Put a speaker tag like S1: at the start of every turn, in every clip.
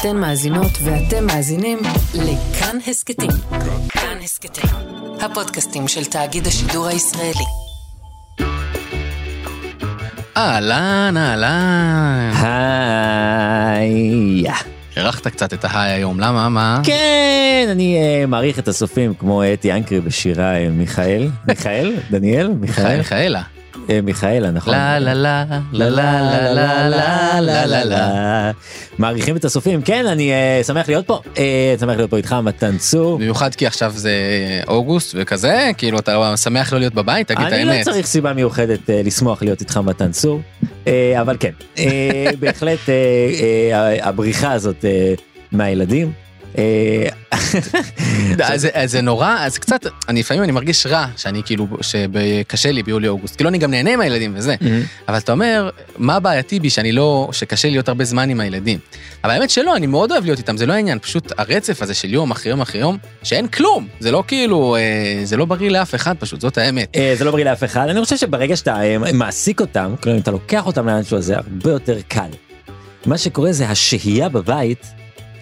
S1: אתן מאזינות ואתם מאזינים לכאן הסכתים. כאן הסכתים, הפודקאסטים של תאגיד השידור הישראלי.
S2: אהלן, אהלן.
S3: היי.
S2: הרחת קצת את ההיי היום, למה? מה?
S3: כן, אני אה, מעריך את הסופים כמו אתי אנקרי בשירה אה, מיכאל, מיכאל, דניאל,
S2: מיכאל,
S3: מיכאל,
S2: מיכאלה.
S3: אה, מיכאלה, נכון.
S2: כן. לה לה לה, לה לה לה לה לה לה לה לה.
S3: מעריכים את הסופים, כן, אני אה, שמח להיות פה, אה, שמח להיות פה איתך, מתן צור.
S2: במיוחד כי עכשיו זה אה, אוגוסט וכזה, כאילו אתה שמח לא להיות בבית, תגיד את
S3: אני לא
S2: האמת.
S3: צריך סיבה מיוחדת אה, לשמוח להיות איתך מתן צור, אה, אבל כן, אה, בהחלט אה, אה, הבריחה הזאת אה, מהילדים. אה,
S2: אה, זה- אה, זה נורא, אז קצת, אני לפעמים אני מרגיש רע, שאני כאילו, שקשה לי ביולי-אוגוסט. כאילו אני גם נהנה מהילדים וזה, אבל אתה אומר, מה בעייתי בי שאני לא, שקשה לי להיות הרבה זמן עם הילדים. אבל האמת שלא, אני מאוד אוהב להיות איתם, זה לא העניין, פשוט הרצף הזה של יום אחרי יום אחרי יום, שאין כלום, זה לא כאילו, אה, זה לא בריא לאף אחד פשוט, זאת האמת.
S3: אה, זה לא בריא לאף אחד, אני חושב שברגע שאתה אה, מעסיק אותם, כלומר אם אתה לוקח אותם לאנשהו הזה, הרבה יותר קל. מה שקורה זה השהייה בבית,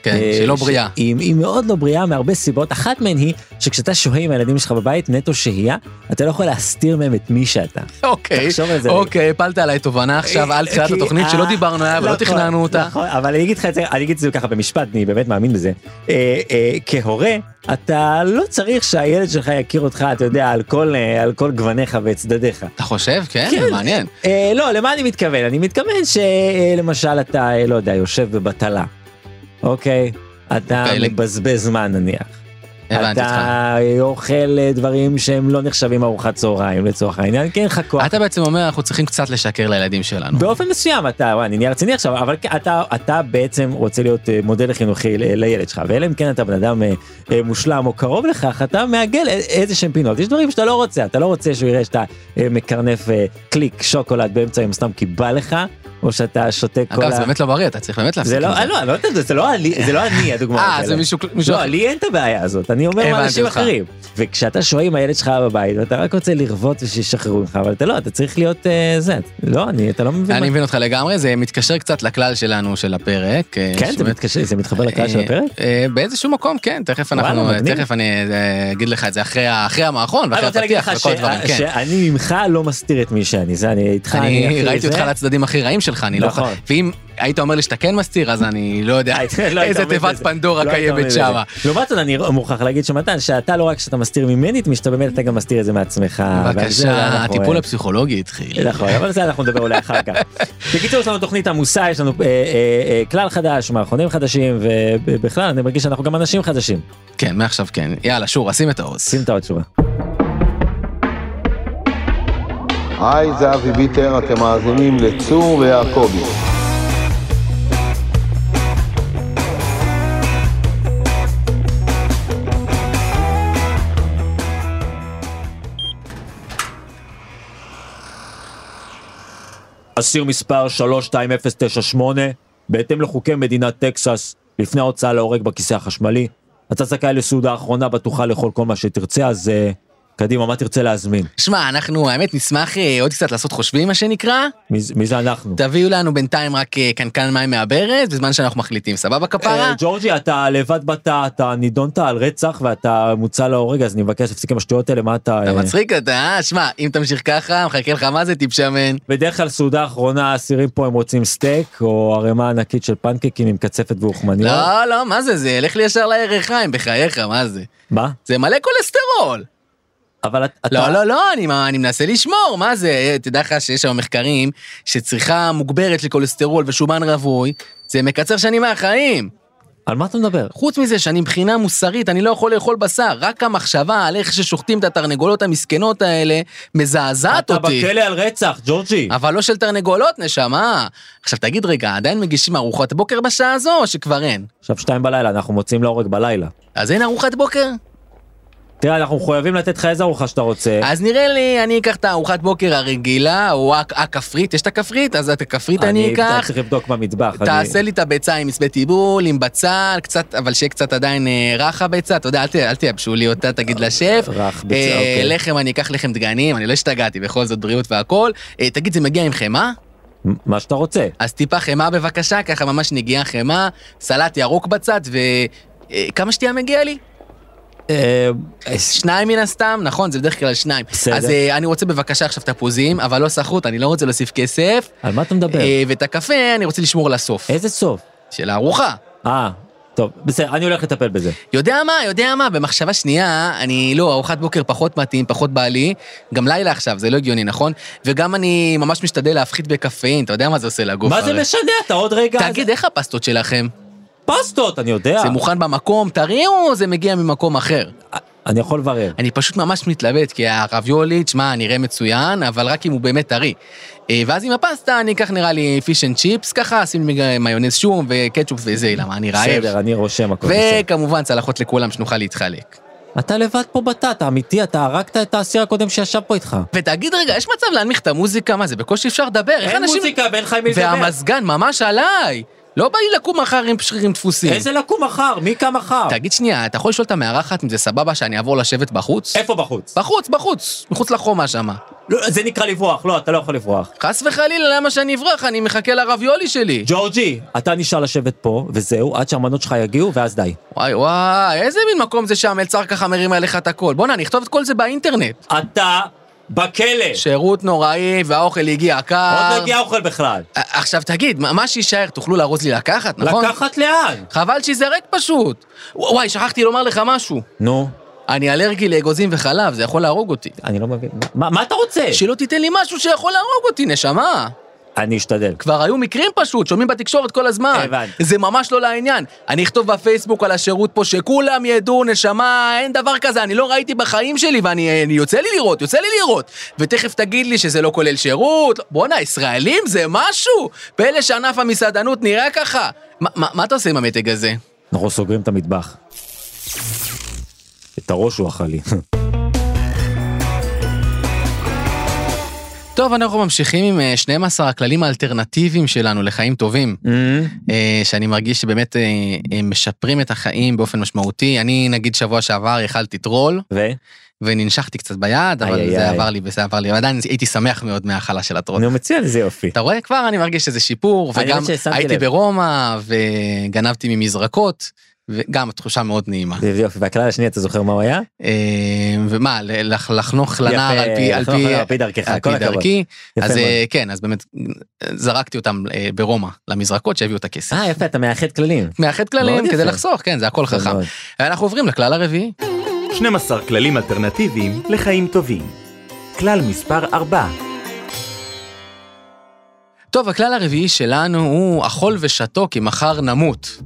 S2: כן,
S3: אה,
S2: שהיא לא
S3: ש-
S2: בריאה.
S3: היא, היא מאוד לא בריאה מהרבה סיבות, אחת מהן היא שכשאתה שוהה עם הילדים שלך בבית, נטו שהייה, אתה לא יכול להסתיר מהם את מי שאתה.
S2: אוקיי,
S3: תחשוב על זה.
S2: אוקיי, הפלת עליי תובנה עכשיו על תחילת
S3: כי-
S2: התוכנית שלא
S3: אה,
S2: דיברנו עליה ולא
S3: נכון,
S2: תכננו אותה.
S3: נכון, אבל אני אגיד לך את זה, אני אגיד את זה ככה במשפט, אני באמת מאמין בזה. אה, אה, כהורה, אתה לא צריך שהילד שלך יכיר אותך, אתה יודע, על כל, אה, על כל גווניך וצדדיך.
S2: אתה חושב? כן,
S3: כן.
S2: מעניין.
S3: אה, לא, למה אני מתכוון? אני מתכוון שלמשל אתה, אה, לא יודע, יושב בבטלה, אוקיי? אתה
S2: כאלה.
S3: מבזבז זמן נניח.
S2: הבנתי אותך.
S3: אתה אוכל אה, דברים שהם לא נחשבים ארוחת צהריים לצורך העניין, כן, כי אין לך כוח.
S2: אתה בעצם אומר, אנחנו צריכים קצת לשקר לילדים שלנו.
S3: באופן מסוים אתה, וואי, אני נהיה רציני עכשיו, אבל כן, אתה, אתה בעצם רוצה להיות אה, מודל חינוכי ל- לילד שלך, ואלא אם כן אתה בן אדם אה, אה, מושלם או קרוב לכך, אתה מעגל א- איזה שהם פינות. יש דברים שאתה לא רוצה, אתה לא רוצה שהוא יראה שאתה אה, מקרנף אה, קליק שוקולד באמצע היום סתם כי בא לך, או שאתה שותה כל
S2: אגב, זה באמת לא בריא, אתה צריך באמת להפסיק
S3: זה
S2: עם
S3: לא,
S2: זה.
S3: אה, לא, אני לא יודעת, זה- זה לא אני, זה לא אני הדוגמאות האלה.
S2: אה, זה מישהו... מישהו-
S3: לא, לי אין את הבעיה הזאת, אני אומר
S2: הבנתי
S3: לאנשים
S2: אותך.
S3: אחרים. וכשאתה שוהה עם הילד שלך בבית, ואתה רק רוצה לרבות ושישחררו ממך, אבל אתה לא, אתה צריך להיות אה, זה. לא, אני, אתה לא מבין מה
S2: אני מבין אותך לגמרי, זה מתקשר קצת לכלל שלנו של הפרק. אה,
S3: כן, זה
S2: שבאמת-
S3: מתקשר, זה מתחבר לקהל של
S2: אה,
S3: הפרק?
S2: אה, באיזשהו מקום, כן, תכף
S3: וואלה,
S2: אנחנו,
S3: מגניב.
S2: תכף אני אה, אגיד לך את זה אחרי ה- אחרי המערכון,
S3: אני
S2: ואחרי
S3: רוצה להגיד לך
S2: הפתיח וכל הדברים,
S3: ש-
S2: כן.
S3: שאני ממך לא מסתיר את מי שאני, זה אני אה, איתך,
S2: אני
S3: הכי
S2: ראיתי
S3: זה.
S2: אותך על הצדדים הכי רעים שלך, אני לא...
S3: נכון.
S2: ואם היית אומר לי שאתה כן מסתיר, אז אני לא יודע
S3: לא היית
S2: איזה
S3: עומד
S2: תיבת
S3: בזה.
S2: פנדורה
S3: לא היית עומד
S2: קיימת
S3: בזה.
S2: שמה.
S3: לעומת זאת, אני מוכרח להגיד שמתן, שאתה לא רק שאתה מסתיר ממני את מי שאתה באמת, אתה גם מסתיר את זה מעצמך. אה, ועל זה
S2: בבקשה,
S3: אנחנו,
S2: הטיפול
S3: אה,
S2: הפסיכולוגי התחיל.
S3: נכון, אבל זה אנחנו נדבר אולי אחר כך. בקיצור, יש לנו תוכנית עמוסה, יש לנו אה, אה, אה, כלל חדש, מערכונים חדשים, ובכלל, אני מרגיש שאנחנו גם אנשים חדשים.
S2: כן, מעכשיו כן. יאללה, שור, שים את העוז.
S3: שים את התשובה.
S4: היי, זה אבי ביטר, אתם מאזינים לצור ויעקבי.
S3: אסיר מספר 32098, בהתאם לחוקי מדינת טקסס, לפני ההוצאה להורג בכיסא החשמלי, אתה זכאי לסעודה האחרונה בטוחה לאכול כל מה שתרצה, אז אה, קדימה, מה תרצה להזמין?
S2: שמע, אנחנו האמת נשמח אה, עוד קצת לעשות חושבים, מה שנקרא.
S3: מי, זה- מי זה אנחנו?
S2: תביאו לנו בינתיים רק אה, קנקן מים מהברז, בזמן שאנחנו מחליטים. סבבה,
S3: אה,
S2: כפרה?
S3: ג'ורג'י, אתה לבד בתא, אתה נידונת על רצח ואתה מוצא להורג, אז אני מבקש להפסיק עם השטויות האלה, מה אתה...
S2: אתה
S3: אה,
S2: מצחיק אותה, אה? שמע, אם תמשיך ככה, מחכה לך מה זה טיפשמן.
S3: בדרך כלל סעודה אחרונה, האסירים פה הם רוצים סטייק, או ערימה ענקית של פנקקים עם קצפת ואוכמניות.
S2: לא, לא, מה זה זה? לך לי ישר לירכיים, בחייך, מה זה?
S3: מה?
S2: זה מלא קולסטרול.
S3: אבל את- אתה...
S2: לא, לא, לא, אני, מה- אני מנסה לשמור, מה זה? אה, תדע לך שיש היום מחקרים שצריכה מוגברת של קולסטרול ושומן רווי, זה מקצר שנים מהחיים.
S3: על מה אתה מדבר?
S2: חוץ מזה שאני מבחינה מוסרית, אני לא יכול לאכול בשר, רק המחשבה על איך ששוחטים את התרנגולות המסכנות האלה מזעזעת
S3: אתה
S2: אותי.
S3: בכלא על רצח, ג'ורג'י.
S2: אבל לא של תרנגולות, נשמה. עכשיו תגיד רגע, עדיין מגישים ארוחת בוקר בשעה הזו או שכבר אין?
S3: עכשיו שתיים בלילה, אנחנו מוצאים להורג בלילה.
S2: אז אין ארוחת בוקר?
S3: תראה, אנחנו מחויבים לתת לך איזה ארוחה שאתה רוצה.
S2: אז נראה לי, אני אקח את הארוחת בוקר הרגילה, או הכ- הכפרית, יש את הכפרית? אז את הכפרית אני
S3: אני
S2: אקח.
S3: צריך לבדוק במטבח. אני-
S2: תעשה לי את הביצה עם מצפה טיבול, עם בצל, קצת, אבל שיהיה קצת עדיין אה, רך הביצה, אתה יודע, אל ת- אל תייבשו לי אותה, תגיד לשף.
S3: רך ביצה,
S2: אה,
S3: אוקיי.
S2: לחם, אני אקח לחם דגנים, אני לא השתגעתי, בכל זאת בריאות והכול. אה, תגיד, זה מגיע עם חמאה?
S3: מה שאתה רוצה.
S2: אז טיפה חמאה בבקשה, ככה ממש נגיעה חמאה, סלט ירוק בצד, וכמה שתייה מגיע לי?
S3: אה,
S2: שניים מן הסתם, נכון, זה בדרך כלל שניים.
S3: בסדר.
S2: אז אה, אני רוצה בבקשה עכשיו תפוזים, אבל לא סחוט, אני לא רוצה להוסיף כסף.
S3: על מה אתה מדבר?
S2: אה, ואת הקפה אני רוצה לשמור לסוף.
S3: איזה סוף?
S2: של הארוחה.
S3: אה, טוב, בסדר, אני הולך לטפל בזה.
S2: יודע מה, יודע מה, במחשבה שנייה, אני לא, ארוחת בוקר פחות מתאים, פחות בא לי, גם לילה עכשיו, זה לא הגיוני, נכון? וגם אני ממש משתדל להפחית בקפאין, אתה יודע מה זה עושה לגוף.
S3: מה זה
S2: הרי.
S3: משנה? אתה עוד רגע...
S2: תגיד, איך הפסטות שלכם?
S3: פסטות, אני יודע.
S2: זה מוכן במקום, טרי או זה מגיע ממקום אחר?
S3: אני יכול לברר.
S2: אני פשוט ממש מתלבט, כי הרביולי, תשמע, נראה מצוין, אבל רק אם הוא באמת טרי. אה, ואז עם הפסטה, אני אקח נראה לי פיש אנד צ'יפס ככה, שים לי אה, מיונז שום וקטשופ וזה, למה אני רעב.
S3: בסדר, אני רושם הכל. בסדר.
S2: וכמובן צלחות לכולם שנוכל להתחלק.
S3: אתה לבד פה בתת, אמיתי, אתה הרגת את האסיר הקודם שישב פה איתך.
S2: ותגיד רגע, יש מצב להנמיך את המוזיקה? מה זה, בקושי אפשר לדבר? איך
S3: אין
S2: אנשים-
S3: מוזיקה ואין לך עם מי לדבר.
S2: והמזגן ממש עליי! לא בא לי לקום מחר עם שרירים דפוסים.
S3: איזה לקום מחר? מי קם מחר?
S2: תגיד שנייה, אתה יכול לשאול את המארחת אם זה סבבה שאני אעבור לשבת בחוץ?
S3: איפה בחוץ?
S2: בחוץ, בחוץ, מחוץ לחומה שמה.
S3: לא, זה נקרא לברוח, לא, אתה לא יכול לברוח.
S2: חס וחלילה, למה שאני אברח? אני מחכה לרביולי שלי.
S3: ג'ורג'י, אתה נשאר לשבת פה, וזהו, עד שהמנות שלך יגיעו, ואז די.
S2: וואי וואי, איזה מין מקום זה שהמלצר ככה מרים עליך את הכל. בואנה, אני אכתוב את כל זה
S3: כן.
S2: באינטרנט.
S3: אתה בכלא!
S2: שירות נוראי, והאוכל הגיע קר.
S3: עוד לא הגיע אוכל בכלל.
S2: ע- עכשיו תגיד, מה- מה שיישאר, תוכלו לארוז לי לקחת, נכון?
S3: לקחת לאן?
S2: חבל שייזרק פשוט. ו- וואי, שכחתי לומר לך משהו.
S3: נו,
S2: אני אלרגי לאגוזים וחלב, זה יכול להרוג אותי.
S3: אני לא מבין. מה מה אתה רוצה?
S2: שלא תיתן לי משהו שיכול להרוג אותי, נשמה.
S3: אני אשתדל.
S2: כבר היו מקרים פשוט, שומעים בתקשורת כל הזמן.
S3: הבנתי.
S2: זה ממש לא לעניין. אני אכתוב בפייסבוק על השירות פה שכולם ידעו, נשמה, אין דבר כזה, אני לא ראיתי בחיים שלי, ואני, אני- יוצא לי לראות, יוצא לי לראות. ותכף תגיד לי שזה לא כולל שירות. בואנה, ישראלים זה משהו? פלא שענף המסעדנות נראה ככה. מה- מה מה אתה עושה עם המתג הזה?
S3: אנחנו סוגרים את המטבח. את הראש הוא אכל לי.
S2: טוב, אנחנו ממשיכים עם אה, 12 הכללים האלטרנטיביים שלנו לחיים טובים.
S3: Mm-hmm.
S2: אה, שאני מרגיש שבאמת אה, אה, משפרים את החיים באופן משמעותי. אני, נגיד, שבוע שעבר אכלתי טרול,
S3: ו?
S2: נכון. וננשכתי קצת ביד,
S3: איי,
S2: אבל זה
S3: איי.
S2: עבר לי וזה עבר לי, ועדיין הייתי שמח מאוד מההאכלה של הטרול.
S3: נו, מצוין, איזה יופי.
S2: אתה רואה? כבר אני מרגיש איזה שיפור,
S3: אני
S2: וגם
S3: האמת ששמתי
S2: הייתי
S3: לב.
S2: ברומא, וגנבתי ממזרקות, וגם תחושה מאוד נעימה.
S3: זה יופי, והכלל השני, אתה זוכר מה הוא היה?
S2: אה, ומה, ל- לח- לחנוך לנער על פי- על
S3: לחנוך
S2: פי...
S3: לנער על פי דרכך,
S2: על
S3: כל
S2: פי
S3: הכבוד.
S2: דרכי,
S3: יפה
S2: אז אה,
S3: מאוד.
S2: כן, אז באמת אה, זרקתי אותם אה, ברומא למזרקות שהביאו את הכסף.
S3: אה, יפה, אתה מאחד כללים.
S2: מאחד
S3: מאוד
S2: כללים
S3: יפה.
S2: כדי לחסוך, כן, זה הכל
S3: יפה
S2: חכם.
S3: מאוד.
S2: אנחנו עוברים לכלל הרביעי.
S5: 12 כללים אלטרנטיביים לחיים טובים. כלל מספר 4,
S2: טוב, הכלל הרביעי שלנו הוא אכול ושתו כי מחר נמות.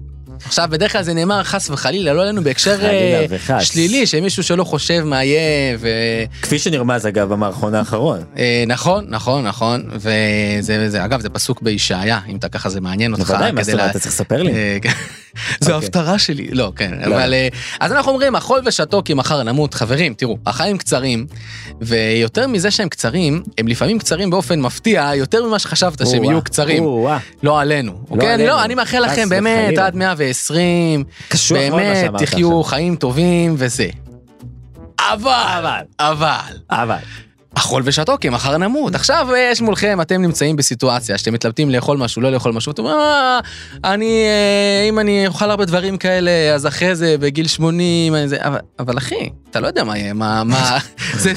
S2: עכשיו, בדרך כלל זה נאמר חס וחלילה, לא עלינו בהקשר
S3: חלילה
S2: אה,
S3: וחס.
S2: שלילי, שמישהו שלא חושב מה יהיה, ו...
S3: כפי שנרמז, אגב, במערכון האחרון.
S2: אה, נכון, נכון, נכון, וזה, זה, אגב, זה פסוק בישעיה, אם אתה ככה זה מעניין אותך.
S3: בוודאי, מה
S2: כדי
S3: זאת אומרת?
S2: לה-
S3: אתה צריך לספר לי.
S2: אה, כן. זו
S3: אוקיי.
S2: ההפטרה שלי, לא, כן,
S3: לא.
S2: אבל... אה, אז אנחנו אומרים, אכול ושתו כי מחר נמות. חברים, תראו, החיים קצרים, ויותר מזה שהם קצרים, הם לפעמים קצרים באופן מפתיע, יותר ממה שחשבת שהם
S3: או-אה,
S2: יהיו קצרים.
S3: או-אה.
S2: לא עלינו, אוקיי? אני
S3: עלינו.
S2: לא, אני מאחל
S3: חס
S2: לכם באמת
S3: וחלילה.
S2: עד 120,
S3: קשוח מאוד מה
S2: באמת
S3: שאמרת
S2: תחיו
S3: עכשיו.
S2: חיים טובים וזה. אבל,
S3: אבל.
S2: אבל,
S3: אבל.
S2: אכול ושתו כי מחר נמות. עכשיו אה, יש מולכם, אתם נמצאים בסיטואציה שאתם מתלבטים לאכול משהו, לא לאכול משהו, אתם אומרים, "אה, אני, אה, אם אני אוכל הרבה דברים כאלה, אז אחרי זה, בגיל 80, אני זה, אבל- אבל אחי, אתה לא יודע מה יהיה, מה, מה, זה...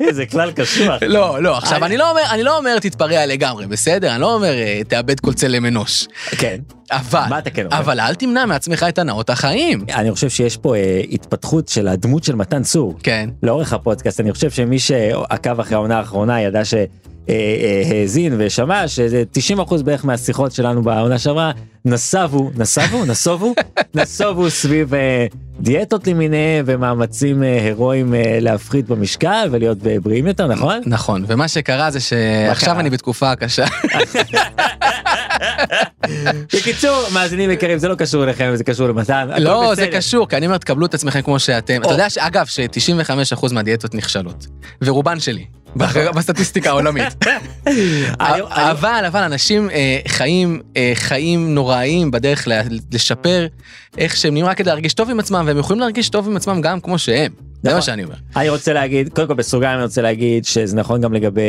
S3: איזה כלל קשוח.
S2: לא, לא, עכשיו, אני לא אומר, אני לא אומר תתפרע לגמרי, בסדר? אני לא אומר אה, תאבד כל צלם אנוש.
S3: כן.
S2: אבל,
S3: מה אתה כן אומר? כן.
S2: אבל אל תמנע מעצמך את הנאות החיים.
S3: אני חושב שיש פה אה, התפתחות של הדמות של מתן צור.
S2: כן.
S3: לאורך הפודקאסט אני חושב שמי שעקב אחרי העונה האחרונה ידע שהאזין ושמע שזה 90% בערך מהשיחות שלנו בעונה שעברה נסבו נסבו נסובו נסובו סביב אה, דיאטות למיניהם ומאמצים אה, הירואיים אה, להפחית במשקל ולהיות אה, בריאים יותר נכון?
S2: נכון, ומה שקרה זה
S3: קרה?
S2: שעכשיו אני בתקופה קשה.
S3: בקיצור מאזינים יקרים זה לא קשור אליכם זה קשור למתן. הכל
S2: לא, זה
S3: בסדר.
S2: קשור, כי אני אומר, תקבלו את עצמכם כמו שאתם. אתה
S3: או.
S2: יודע, אגב, ש-95% מהדיאטות נכשלות, ורובן שלי, באחר- בסטטיסטיקה העולמית.
S3: אני- נכון. אני-
S2: אבל, אבל אנשים אה, חיים אה, חיים נוראיים בדרך ל- לשפר איך שהם נראים רק כדי להרגיש טוב עם עצמם, והם יכולים להרגיש טוב עם עצמם גם כמו שהם.
S6: זה
S3: נכון.
S6: מה שאני אומר.
S3: אני רוצה להגיד, קודם כל בסוגריים אני רוצה להגיד שזה נכון גם לגבי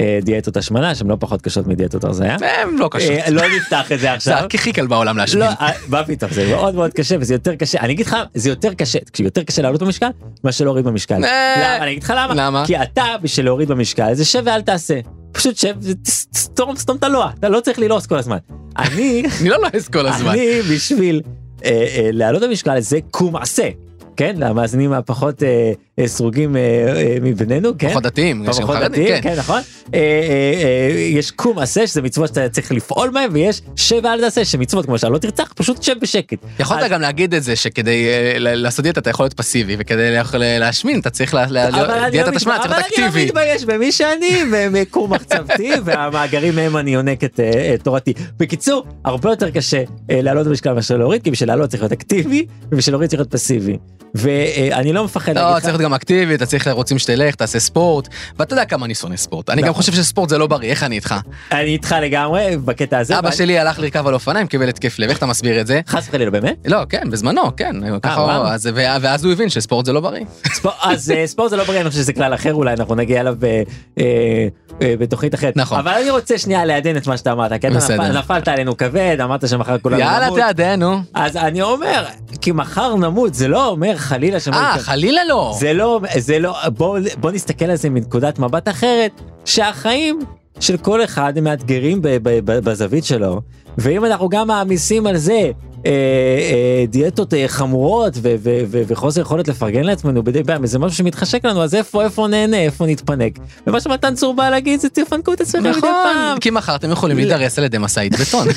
S3: אה, דיאטות השמנה שהן לא פחות קשות מדיאטות הרזייה.
S6: הם לא קשות.
S3: אה, לא נפתח את זה
S6: זה
S3: עכשיו.
S6: הכי הכי קל בעולם להשמיד.
S3: לא, אה, מה פתאום, זה מאוד מאוד קשה וזה יותר קשה, אני אגיד לך, זה יותר קשה, תקשיב, יותר קשה לעלות במשקל, מאשר להוריד במשקל.
S6: אה,
S3: למה? אני אגיד לך למה.
S6: למה?
S3: כי אתה, בשביל להוריד במשקל, זה שב ואל תעשה. פשוט שב, ת- סתום, סתום את הלוע, אתה לא צריך ללעוס כל הזמן. אני,
S6: אני לא לועס כל הזמן.
S3: אני כן. בשביל אה, אה, להעלות במשקל זה קום עשה. כן, למאזינים הפחות אה, אה, סרוגים אה, אה, מבינינו, כן?
S6: פחות דתיים, יש גם
S3: פחות
S6: חרדים,
S3: דתיים,
S6: כן.
S3: כן, נכון? אה, אה, אה, יש קום עשה, שזה מצוות שאתה צריך לפעול מהן, ויש שבע אל תעשה, שמצוות כמו שלא תרצח, פשוט שב בשקט.
S6: יכולת
S3: אז-
S6: גם להגיד את זה שכדי אה, ל- לעשות דיאטה אתה יכול להיות פסיבי וכדי לה- להשמין אתה צריך לה- לה-
S3: אבל אני לא
S6: דיאטת
S3: מתבייש-
S6: השמנה צריך
S3: אבל
S6: להיות
S3: אני לא
S6: אקטיבי.
S3: מתבייש במי שאני, ומכור מחצבתי, והמאגרים מהם אני יונק את אה, אה, תורתי. בקיצור, הרבה יותר קשה אה, לעלות במשקל מאשר להוריד, כי בשביל לעלות צריך להיות אקטיבי, ובשביל להוריד צריך להיות פסיבי. ואני לא מפחד
S6: לא,
S3: להגיד לך...
S6: צריך להיות גם אקטיבי, אתה צריך, רוצים שתלך, תעשה ספורט, ואתה יודע כמה אני שונא ספורט. אני גם
S3: נכון.
S6: חושב שספורט זה לא בריא, איך אני איתך?
S3: אני איתך לגמרי בקטע הזה.
S6: אבא
S3: ואני-
S6: שלי הלך לרכב על אופניים, קיבל התקף לב, איך אתה מסביר את זה?
S3: חס וחלילה, באמת?
S6: לא, כן, בזמנו, כן, ככה, הוא-
S3: וואלה.
S6: אז- וה- ואז הוא הבין שספורט זה לא בריא.
S3: ספורט- אז אה, ספורט זה לא בריא, אני חושב שזה כלל אחר אולי, אנחנו נגיע אליו ב- אה, אה, בתוכנית אחרת.
S6: נכון.
S3: אבל אני רוצה שנייה לעדן את מה שאתה אמרת, כי אתה
S6: בסדר.
S3: נפל- נפלת עלינו כבד, אמרת שמחר כולנו
S6: יאללה,
S3: נמות.
S6: תעדה, נו.
S3: אז אני אומר, כי מחר נמות, זה לא אומר חלילה שלא
S6: אה,
S3: יקרה.
S6: חלילה לא.
S3: זה לא, זה לא, בואו בוא נסתכל על זה מנקודת מבט אחרת, שהחיים של כל אחד הם מאתגרים ב, ב, ב, בזווית שלו, ואם אנחנו גם מעמיסים על זה אה, אה, דיאטות אה, חמורות ו, ו, ו, וחוסר יכולת לפרגן לעצמנו בדי פעם, זה משהו שמתחשק לנו, אז איפה, איפה נהנה, איפה נתפנק. ומה שמתן צור בא להגיד זה תפנקו את עצמכם מדי פעם.
S6: נכון, כי מחר אתם יכולים להידרס על ידי משאית בטון.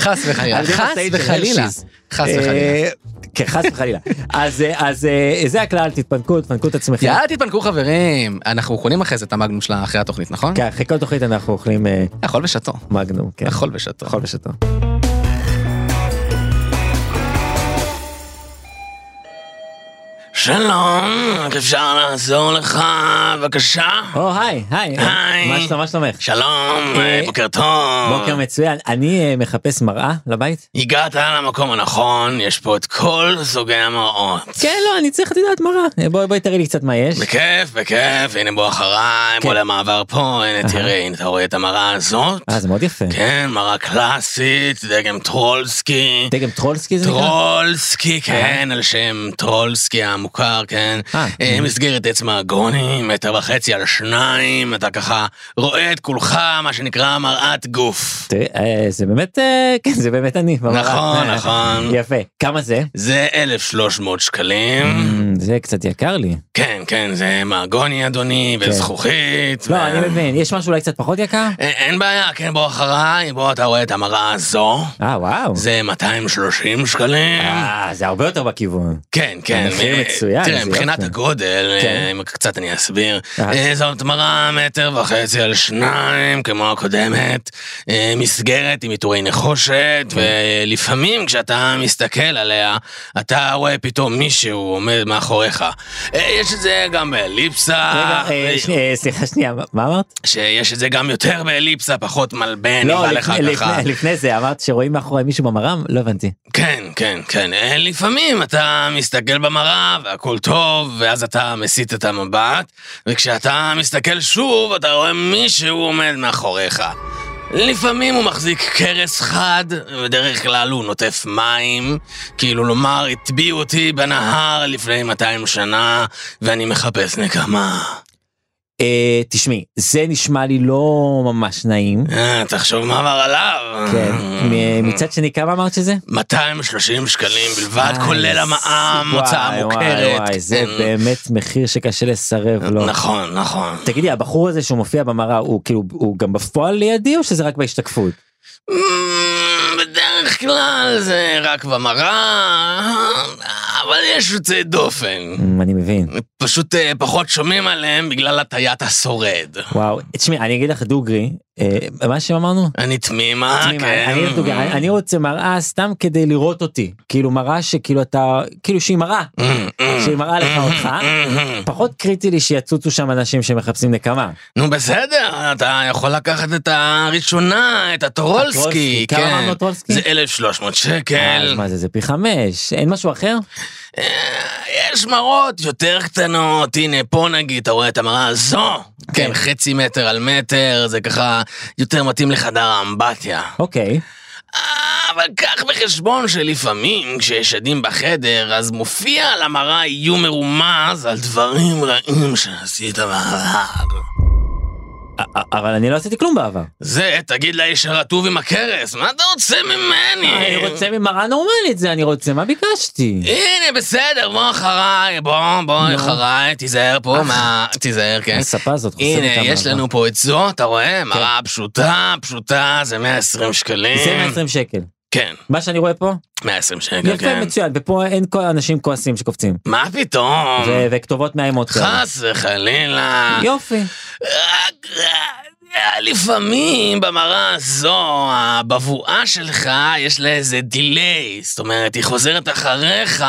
S6: חס וחלילה,
S3: על ידי
S6: אה, חס
S3: משאית של
S6: וחלילה,
S3: הרשיז.
S6: חס
S3: אה,
S6: וחלילה.
S3: כן, חס וחלילה. אז, אה, אז אה, זה הכלל, תתפנקו, תתפנקו את עצמכם.
S6: יאללה, תתפנקו חברים. אנחנו קונים אחרי זה את המגנום שלה אחרי התוכנית, נכון?
S3: כן, אחרי כל תוכנית אנחנו אוכלים אה,
S6: אכול ושתו.
S3: מגנום, כן.
S6: אכול ושתו.
S3: אכול ושתו.
S6: שלום, איך אפשר לעזור לך, בבקשה?
S3: או, היי, היי.
S6: היי.
S3: מה שלום, מה שלומך?
S6: שלום,
S3: אה,
S6: בוקר טוב.
S3: בוקר מצוין. אני אה, מחפש מראה לבית?
S6: הגעת למקום הנכון, יש פה את כל סוגי המראות.
S3: כן, לא, אני צריך, את יודעת, מראה. אה, בואי, בואי תראי לי קצת מה יש.
S6: בכיף, בכיף, הנה בוא אחריי, בוא
S3: כן.
S6: למעבר פה, הנה
S3: אהה.
S6: תראה, הנה אתה רואה את המראה הזאת.
S3: אה, זה מאוד יפה.
S6: כן, מראה קלאסית, דגם טרולסקי.
S3: דגם טרולסקי זה נקרא?
S6: טרולסקי, כן, על שם טרולסקי המוכר, כן.
S3: אה.
S6: אה, מסגרת עץ מעגוני, מטר וחצי על שניים, אתה ככה רואה את כולך, מה שנקרא מראת גוף.
S3: תראי, אה, זה באמת, אה, כן, זה באמת אני. במראה.
S6: נכון,
S3: אה,
S6: נכון.
S3: יפה. כמה זה?
S6: זה 1,300 שקלים.
S3: אמ, זה קצת יקר לי.
S6: כן, כן, זה מעגוני, אדוני,
S3: כן.
S6: וזכוכית.
S3: לא,
S6: ו-
S3: אני מבין. יש משהו אולי קצת פחות יקר?
S6: אין- אין בעיה, כן, בוא אחריי, בוא, אתה רואה את המראה הזו.
S3: אה, וואו.
S6: זה 230 שקלים.
S3: אה, זה הרבה יותר בכיוון.
S6: כן, כן.
S3: המחיר
S6: אה,
S3: מצוין,
S6: תראה,
S3: זה
S6: מבחינת
S3: יופי.
S6: הגודל,
S3: כן.
S6: אה, אם קצת אני אסביר.
S3: אה.
S6: אה, זאת מראה מטר וחצי על שניים, כמו הקודמת. אה, מסגרת עם עיטורי נחושת,
S3: כן.
S6: ולפעמים כשאתה מסתכל עליה, אתה רואה פתאום מישהו עומד מאחוריך. אה, יש את זה גם באליפסה.
S3: רגע, אה,
S6: ו-
S3: שני- אה, סליחה שנייה, מה- מה אמרת?
S6: שיש את זה גם יותר באליפסה, פחות מלבן,
S3: לא,
S6: נראה לך
S3: לפני-
S6: ככה.
S3: לפני- לפני זה אמרת שרואים מאחורי מישהו במראה? לא הבנתי.
S6: כן, כן, כן. אה, לפעמים אתה מסתכל במראה והכל טוב, ואז אתה מסיט את המבט, וכשאתה מסתכל שוב, אתה רואה מישהו עומד מאחוריך. לפעמים הוא מחזיק קרס חד, בדרך כלל הוא נוטף מים, כאילו לומר, הטביעו אותי בנהר לפני 200 שנה, ואני מחפש נקמה.
S3: אה, תשמעי, זה נשמע לי לא ממש נעים.
S6: אה, תחשוב מה עבר עליו.
S3: כן. מ- מצד שני, כמה אמרת שזה?
S6: 230 שקלים בלבד,
S3: אה,
S6: כולל המע"מ,
S3: וואי,
S6: הוצאה
S3: וואי,
S6: מוכרת.
S3: וואי, זה לא.
S6: כן.
S3: באמת מחיר שקשה לסרב לו.
S6: נכון, נכון.
S3: תגידי, הבחור הזה שהוא מופיע במראה, הוא כאילו, הוא גם בפועל לידי או שזה רק בהשתקפות?
S6: אמ, בדרך כלל זה רק במראה, אבל יש יוצאי דופן.
S3: אמ, אני מבין.
S6: פשוט אה, פחות שומעים עליהם בגלל הטיית השורד.
S3: וואו. תשמעי, אני אגיד לך דוגרי, אה, מה שאמרנו?
S6: אני תמימה,
S3: תשמעי,
S6: כן.
S3: אני, אני, אני, אני רוצה מראה סתם כדי לראות אותי. כאילו מראה שכאילו אתה, כאילו שהיא מראה,
S6: אמ, אמ,
S3: שהיא מראה לך
S6: אמ,
S3: אותך.
S6: אמ, אמ.
S3: פחות קריטי לי שיצוצו שם אנשים שמחפשים נקמה.
S6: נו בסדר, אתה יכול לקחת את הראשונה, את הטורולסקי,
S3: הטרולסקי,
S6: כן.
S3: כמה אמרנו הטרולסקי?
S6: זה 1,300
S3: אה, אז
S6: שקל.
S3: מה זה, זה פי חמש, אין משהו אחר?
S6: אה,
S2: יש מראות יותר קטנות, הנה פה נגיד, אתה רואה את המראה הזו. כן, חצי מטר על מטר, זה ככה יותר מתאים לחדר האמבטיה.
S3: אוקיי.
S2: "אה, אבל קח בחשבון שלפעמים כשיש עדים בחדר, אז מופיע על המראה איום מרומז על דברים רעים שעשית בעבר.
S3: א- א- אבל אני לא עשיתי כלום בעבר.
S2: זה, תגיד לאיש הרטוב עם הכרס, מה אתה רוצה ממני?
S3: אני רוצה ממראה נורמלית זה אני רוצה, מה ביקשתי?
S2: הנה, בסדר, בוא אחריי, בוא, בוא אחריי, תיזהר
S3: אה.
S2: פה, מה, תיזהר, כן.
S3: הספה הזאת חוסמת את
S2: הנה, יש
S3: המעבר.
S2: לנו פה את זו, אתה רואה?
S3: כן.
S2: מראה פשוטה, פשוטה, זה 120 שקלים.
S3: זה 120 שקל.
S2: כן,
S3: מה שאני רואה פה?
S2: 120 שקל,
S3: יפה,
S2: כן.
S3: מצוין, ופה אין כל אנשים כועסים שקופצים.
S2: מה פתאום?
S3: ו- וכתובות מאיימות כאלה.
S2: נכון. חס וחלילה.
S3: יופי.
S2: רק, אה, לפעמים במראה הזו, הבבואה שלך, יש לה איזה דיליי. זאת אומרת, היא חוזרת אחריך,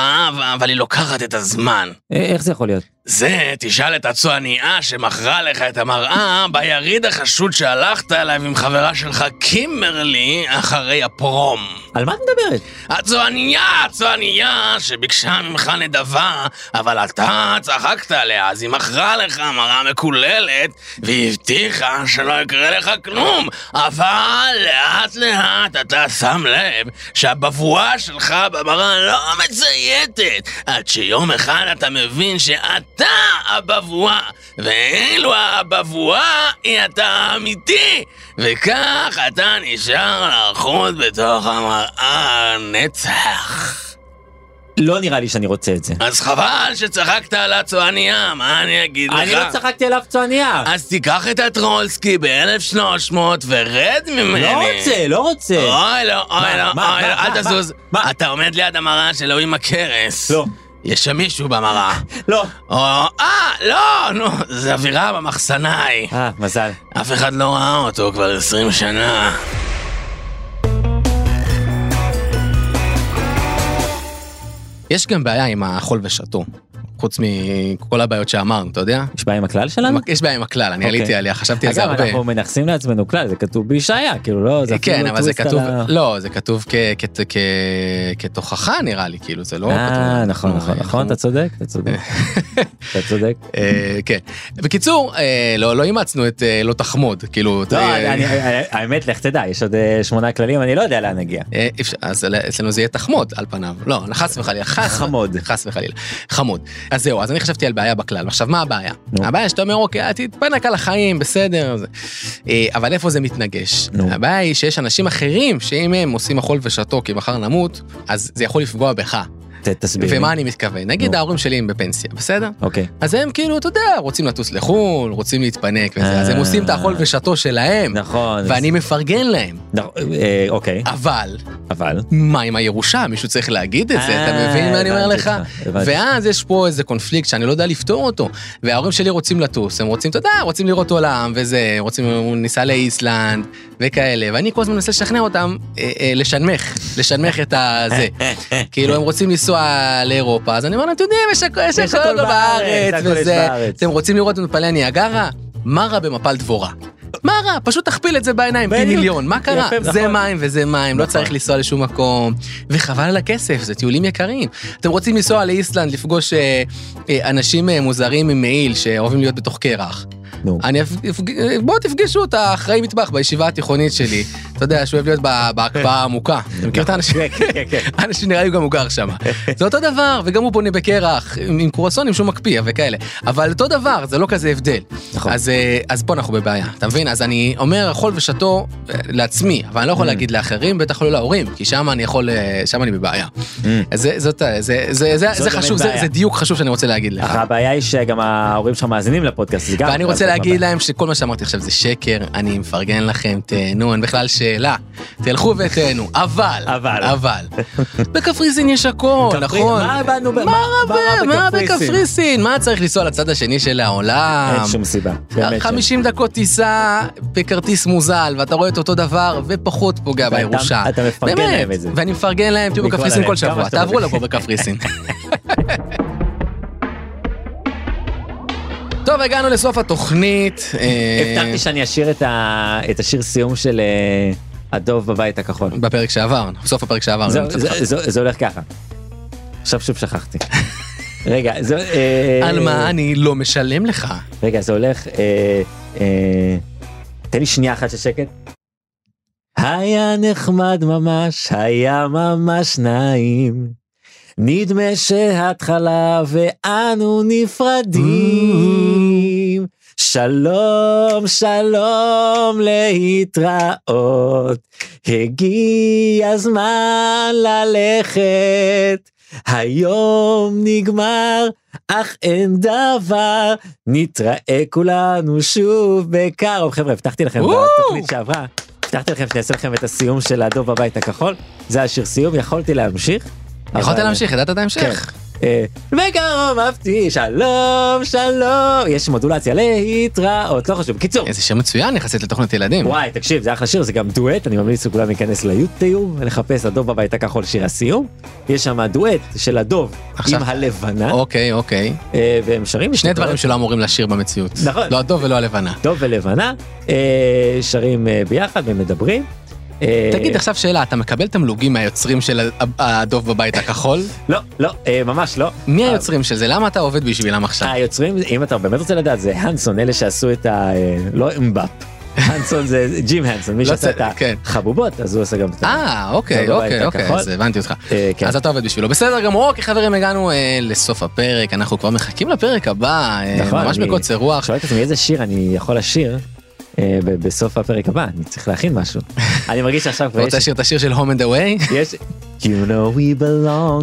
S2: אבל היא לוקחת את הזמן.
S3: א- אה, איך זה יכול להיות?
S2: זה, תשאל את הצוענייה שמכרה לך את המראה ביריד החשוד שהלכת אליו עם חברה שלך קימברלי אחרי הפרום.
S3: על מה את מדברת?
S2: הצוענייה, הצוענייה שביקשה ממך נדבה, אבל אתה צחקת עליה, אז היא מכרה לך מראה מקוללת, והיא הבטיחה שלא יקרה לך כלום, אבל לאט לאט אתה שם לב שהבבואה שלך במראה לא מצייתת, עד שיום אחד אתה מבין שאתה הבבואה, ואילו הבבואה היא אתה האמיתי, וכך אתה נשאר לחות בתוך המראה נצח.
S3: לא נראה לי שאני רוצה את זה.
S2: אז חבל שצחקת על הצועניה, מה אני אגיד לך?
S3: אני לא צחקתי על אף צועניה.
S2: אז תיקח את הטרולסקי ב-1300 ורד ממני.
S3: לא רוצה, לא רוצה.
S2: אוי לא, אוי
S3: מה,
S2: לא,
S3: מה,
S2: אוי לא,
S3: מה,
S2: אל
S3: מה,
S2: תזוז.
S3: מה?
S2: אתה עומד ליד המראה של אלוהים הכרס.
S3: לא.
S2: יש שם מישהו במראה.
S3: לא.
S2: או, אה, לא, נו, זה אווירה במחסנאי.
S3: אה, מזל.
S2: אף אחד לא ראה אותו כבר 20 שנה. יש גם בעיה עם האכול ושתו, חוץ מכל הבעיות שאמרנו, אתה יודע?
S3: יש בעיה עם הכלל שלנו?
S2: יש בעיה עם הכלל, אני
S3: כן. אוקיי.
S2: עליתי עליה, חשבתי על זה
S3: אגב,
S2: הרבה.
S3: אנחנו מנכסים לעצמנו כלל, זה כתוב בישעיה, כאילו, לא, זה אפילו
S2: כן,
S3: לא
S2: אבל זה
S3: טוויסט על
S2: כתוב,
S3: ה-
S2: לא, זה כתוב כ- כ- כ- כתוכחה נראה לי, כאילו, זה לא...
S3: אה,
S2: כתוב-
S3: נכון, נכון,
S2: אנחנו-
S3: נכון, אתה צודק, אתה צודק. אתה צודק.
S2: אה, כן. בקיצור, אה, לא לא אימצנו את אה, לא תחמוד, כאילו...
S3: לא,
S2: אה,
S3: אני- אני- האמת, לך תדע, יש עוד אה, שמונה כללים, אני לא יודע לאן נגיע.
S2: אה, אפשר- אז אל- אצלנו זה יהיה תחמוד על פניו, לא, חס וחלילה, חס,
S3: חמוד.
S2: חס וחלילה, חמוד. אז זהו, אז אני חשבתי על בעיה בכלל, עכשיו מה הבעיה?
S3: נו.
S2: הבעיה שאתה אומר, אוקיי, אה, תתפנק על החיים, בסדר, זה. אה, אבל איפה זה מתנגש?
S3: נו.
S2: הבעיה היא שיש אנשים אחרים, שאם הם עושים אכול ושתו כי מחר נמות, אז זה יכול לפגוע בך.
S3: ת- תסביר. לי.
S2: ומה אני מתכוון? נגיד
S3: נו.
S2: ההורים שלי הם בפנסיה, בסדר?
S3: אוקיי.
S2: אז הם כאילו, אתה יודע, רוצים לטוס לחו"ל, רוצים להתפנק וזה, אז הם
S3: אה.
S2: עושים את האכול ושתו שלהם,
S3: נכון.
S2: ואני מפרגן להם,
S3: נכ- אה, אוקיי,
S2: אבל...
S3: אבל...
S2: מה עם הירושה? מישהו צריך להגיד את זה, אתה
S3: אה,
S2: מבין מה אני אומר
S3: הבנתי
S2: לך?
S3: אותך, הבנתי.
S2: ואז יש פה איזה קונפליקט שאני לא יודע לפתור אותו. וההורים שלי רוצים לטוס, הם רוצים, אתה יודע, רוצים לראות עולם וזה, רוצים, הוא ניסע לאיסלנד וכאלה, ואני כל הזמן מנסה לשכנע אותם אה, אה, לשנמך, לשנמך את הזה. כאילו, הם רוצים לנסוע לאירופה, אז אני אומר להם, אתם יודעים, יש הכ- יש
S3: יש
S2: הכל
S3: הכל
S2: בארץ
S3: בארץ, הכל יש
S2: וזה,
S3: בארץ."
S2: אתם רוצים לראות את מפלי הניאגרה? מה רע במפל דבורה? מה רע? פשוט תכפיל את זה בעיניים, פי
S3: בדיוק.
S2: מיליון, מה קרה?
S3: יפה,
S2: זה
S3: נכון.
S2: מים וזה מים, לא
S3: נכון.
S2: צריך לנסוע לשום מקום, וחבל על הכסף, זה טיולים יקרים. אתם רוצים לנסוע לאיסלנד, לפגוש אה, אה, אנשים אה, מוזרים עם מעיל שאוהבים להיות בתוך קרח.
S3: נו.
S2: אני אפ- אפג- אה, בואו תפגשו את האחראי מטבח בישיבה התיכונית שלי, אתה יודע, שאוהב להיות ב- בהקפאה העמוקה. אתה מכיר את האנשים?
S3: כן, כן, כן, כן.
S2: אנשים נראה לי הוא גם הוא גר שם. זה אותו דבר, וגם הוא בונה בקרח, עם עם קרואסונים שהוא מקפיא וכאלה. אבל אותו דבר, זה לא כזה הבדל.
S3: נכון.
S2: אז, אה, אז פה אנחנו בבעיה, אתה מבין? אז אני אומר אכול ושתו אה, לעצמי, אבל אני לא יכול
S3: Mm.
S2: להגיד לאחרים, בטח לא להורים, כי שם אני יכול, אה, שם אני בבעיה. אז זה, זאת, ה- זה, זה, זה,
S3: Mm. זאת
S2: זה
S3: באמת
S2: חשוב, זה,
S3: בעיה.
S2: זה דיוק חשוב שאני רוצה להגיד לך.
S3: אך הבעיה היא שגם ההורים שלך מאזינים לפודקאסט, זה גם...
S2: ואני רוצה להגיד להם שכל מה שאמרתי עכשיו זה שקר, אני מפרגן לכם, תהנו, אין בכלל שאלה. תלכו ותהנו, אבל,
S3: אבל.
S2: אבל, בקפריסין יש הכל,
S3: קפריסין,
S2: נכון?
S3: מה באנו ב-
S2: מה
S3: מה- מה
S2: רבה,
S3: רע
S2: מה
S3: בקפריסין?
S2: בקפריסין? מה צריך לנסוע לצד השני של העולם?
S3: אין שום סיבה. באמת כן.
S2: 50 דקות טיסה בכרטיס מוזל, ואתה רואה את אותו דבר, ופחות פוגע
S3: ואתה-
S2: בירושה.
S3: אתה מפרגן
S2: באמת,
S3: להם את זה.
S2: ואני מפרגן להם, תהיו
S3: מכל
S2: בקפריסין
S3: הלב,
S2: כל
S3: כמה
S2: שבוע,
S3: שאתה
S2: תעברו
S3: מבין.
S2: לגור בקפריסין. טוב, הגענו לסוף התוכנית. אה,
S3: הבטחתי שאני אשיר את ה- את השיר סיום של אה, הדוב בבית הכחול.
S2: בפרק שעבר, בסוף הפרק שעבר.
S3: זה-
S2: אני רוצה-
S3: זה- זה- זה הולך ככה. עכשיו שוב שכחתי. רגע, זה... אה,
S2: על מה אני לא משלם לך?
S3: רגע, זה הולך... אה, אה, תן לי שנייה אחת של שקט. היה נחמד ממש, היה ממש נעים. נדמה שההתחלה ואנו נפרדים. שלום, שלום, להתראות. הגיע הזמן ללכת. היום נגמר, אך אין דבר, נתראה כולנו שוב בקרוב. חבר'ה, הבטחתי לכם
S2: וואו!
S3: בתוכנית שעברה, הבטחתי אה, לכם שאני אעשה לכם את הסיום של הדוב הבית הכחול, זה השיר סיום, יכולתי להמשיך.
S2: יכולת
S3: אבל-
S2: להמשיך, ידעת את ההמשך.
S3: אה, בקרוב אהבתי, שלום, שלום, יש מודולציה להתראות, לא חשוב. בקיצור,
S2: איזה שם מצוין יחסית לתוכנית ילדים.
S3: וואי, תקשיב, זה אחלה שיר, זה גם דואט, אני ממליץ לכולם להיכנס ליוטיוב, לחפש הדוב בבית הכחול שיר הסיום. יש שם דואט של הדוב
S2: עכשיו-
S3: עם הלבנה,
S2: אוקיי, אוקיי.
S3: אה, והם שרים...
S2: שני
S3: את הדוב.
S2: דברים שלא אמורים לשיר במציאות.
S3: נכון.
S2: לא הדוב ולא הלבנה.
S3: דוב ולבנה, אה, שרים אה, ביחד ומדברים. אה,
S2: תגיד עכשיו שאלה, אתה מקבל תמלוגים מהיוצרים של ה- הדוב בבית הכחול?
S3: לא, לא, אה, ממש לא.
S2: מי היוצרים של זה? למה אתה עובד בשבילם עכשיו?
S3: אה, היוצרים, אם אתה באמת רוצה לדעת, זה הנסון, אלה שעשו את ה... אה, לא אמבאפ. הנסון זה זה ג'ים הנסון, מי
S2: לא
S3: שעשה את
S2: צ- כן.
S3: החבובות, אז הוא עשה גם את ה...
S2: אה, אוקיי,
S3: הדוב
S2: אוקיי,
S3: בבית
S2: אוקיי,
S3: הכחול.
S2: אז הבנתי אותך.
S3: אה, כן.
S2: אז אתה עובד בשבילו. בסדר גמור, אוקיי חברים, הגענו אה, לסוף הפרק, אנחנו כבר מחכים לפרק הבא, אה,
S3: נכון,
S2: ממש
S3: אני
S2: בקוצר רוח.
S3: שואל את עצמי איזה שיר אני יכול לשיר אה, ב- בסוף הפרק הבא, אני צריך להכין משהו. אני מרגיש שעכשיו
S2: אתה
S3: כבר
S2: רוצה
S3: יש...
S2: לשיר את השיר של Home and Away?
S3: יש... You know we belong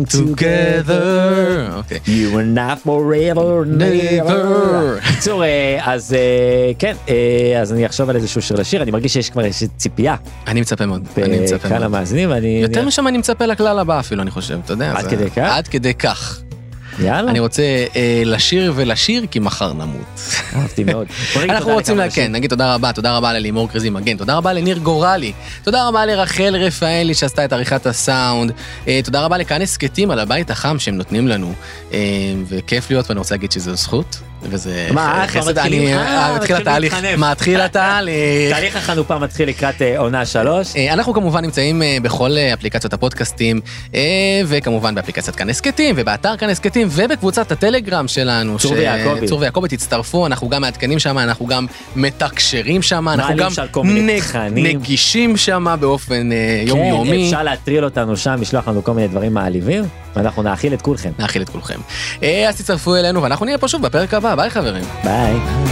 S3: together.
S2: together. אוקיי.
S3: You are not forever never.
S2: Never.
S3: בקיצור, אה, אז אה, כן, אה, אז אני אחשוב על איזשהו שיר לשיר, אני מרגיש שיש כבר איזושהי ציפייה
S2: אני מצפה מאוד,
S3: אה,
S2: אני מצפה
S3: בקהל
S2: מאוד.
S3: המאזינים, ואני...
S2: יותר
S3: אני-
S2: משם אני מצפה לכלל הבא אפילו, אני חושב, אתה יודע.
S3: עד
S2: זה-
S3: כדי כך?
S2: עד כדי כך.
S3: יאללה,
S2: אני רוצה אה, לשיר ולשיר, כי מחר נמות.
S3: אהבתי מאוד. בוא נגיד
S2: אנחנו
S3: תודה
S2: רוצים,
S3: לכמה
S2: לה- כן,
S3: אנשים.
S2: נגיד תודה רבה, תודה רבה ללימור קריזי מגן, תודה רבה לניר גורלי, תודה רבה לרחל רפאלי שעשתה את עריכת הסאונד, אה, תודה רבה לכאן הסכתים על הבית החם שהם נותנים לנו, אה, וכיף להיות, ואני רוצה להגיד שזו זכות, וזה
S3: מה, אה, כבר
S2: חסד,
S3: מתחילים?
S2: אני
S3: אה,
S2: אה, מתחיל
S3: מתחילים
S2: התהליך,
S3: להתחנף.
S2: מתחיל התהליך.
S3: תהליך החנופה מתחיל לקראת אה, עונה שלוש.
S2: אה, אנחנו כמובן נמצאים אה, בכל אה, אפליקציות הפודקאסטים, אה, וכמובן באפליקציית כאן הסכתים, ובאתר כאן הסכתים, ובקבוצת הטלגרם שלנו.
S3: צור
S2: ש-
S3: ויעקבי.
S2: צור ויעקבי, תצטרפו, אנחנו גם מעדכנים שם, אנחנו גם מתקשרים שם, אנחנו
S3: מעלים
S2: גם
S3: שם כל מיני תכנים.
S2: נגישים שם באופן אה,
S3: כן,
S2: יומיומי.
S3: אפשר להטריל אותנו שם, לשלוח לנו כל מיני דברים מעליבים, ואנחנו נאכיל את כולכם.
S2: נאכיל את כולכם. אה, אז תצטרפו אלינו, ואנחנו נהיה פה שוב בפרק הבא, ביי חברים.
S3: ביי.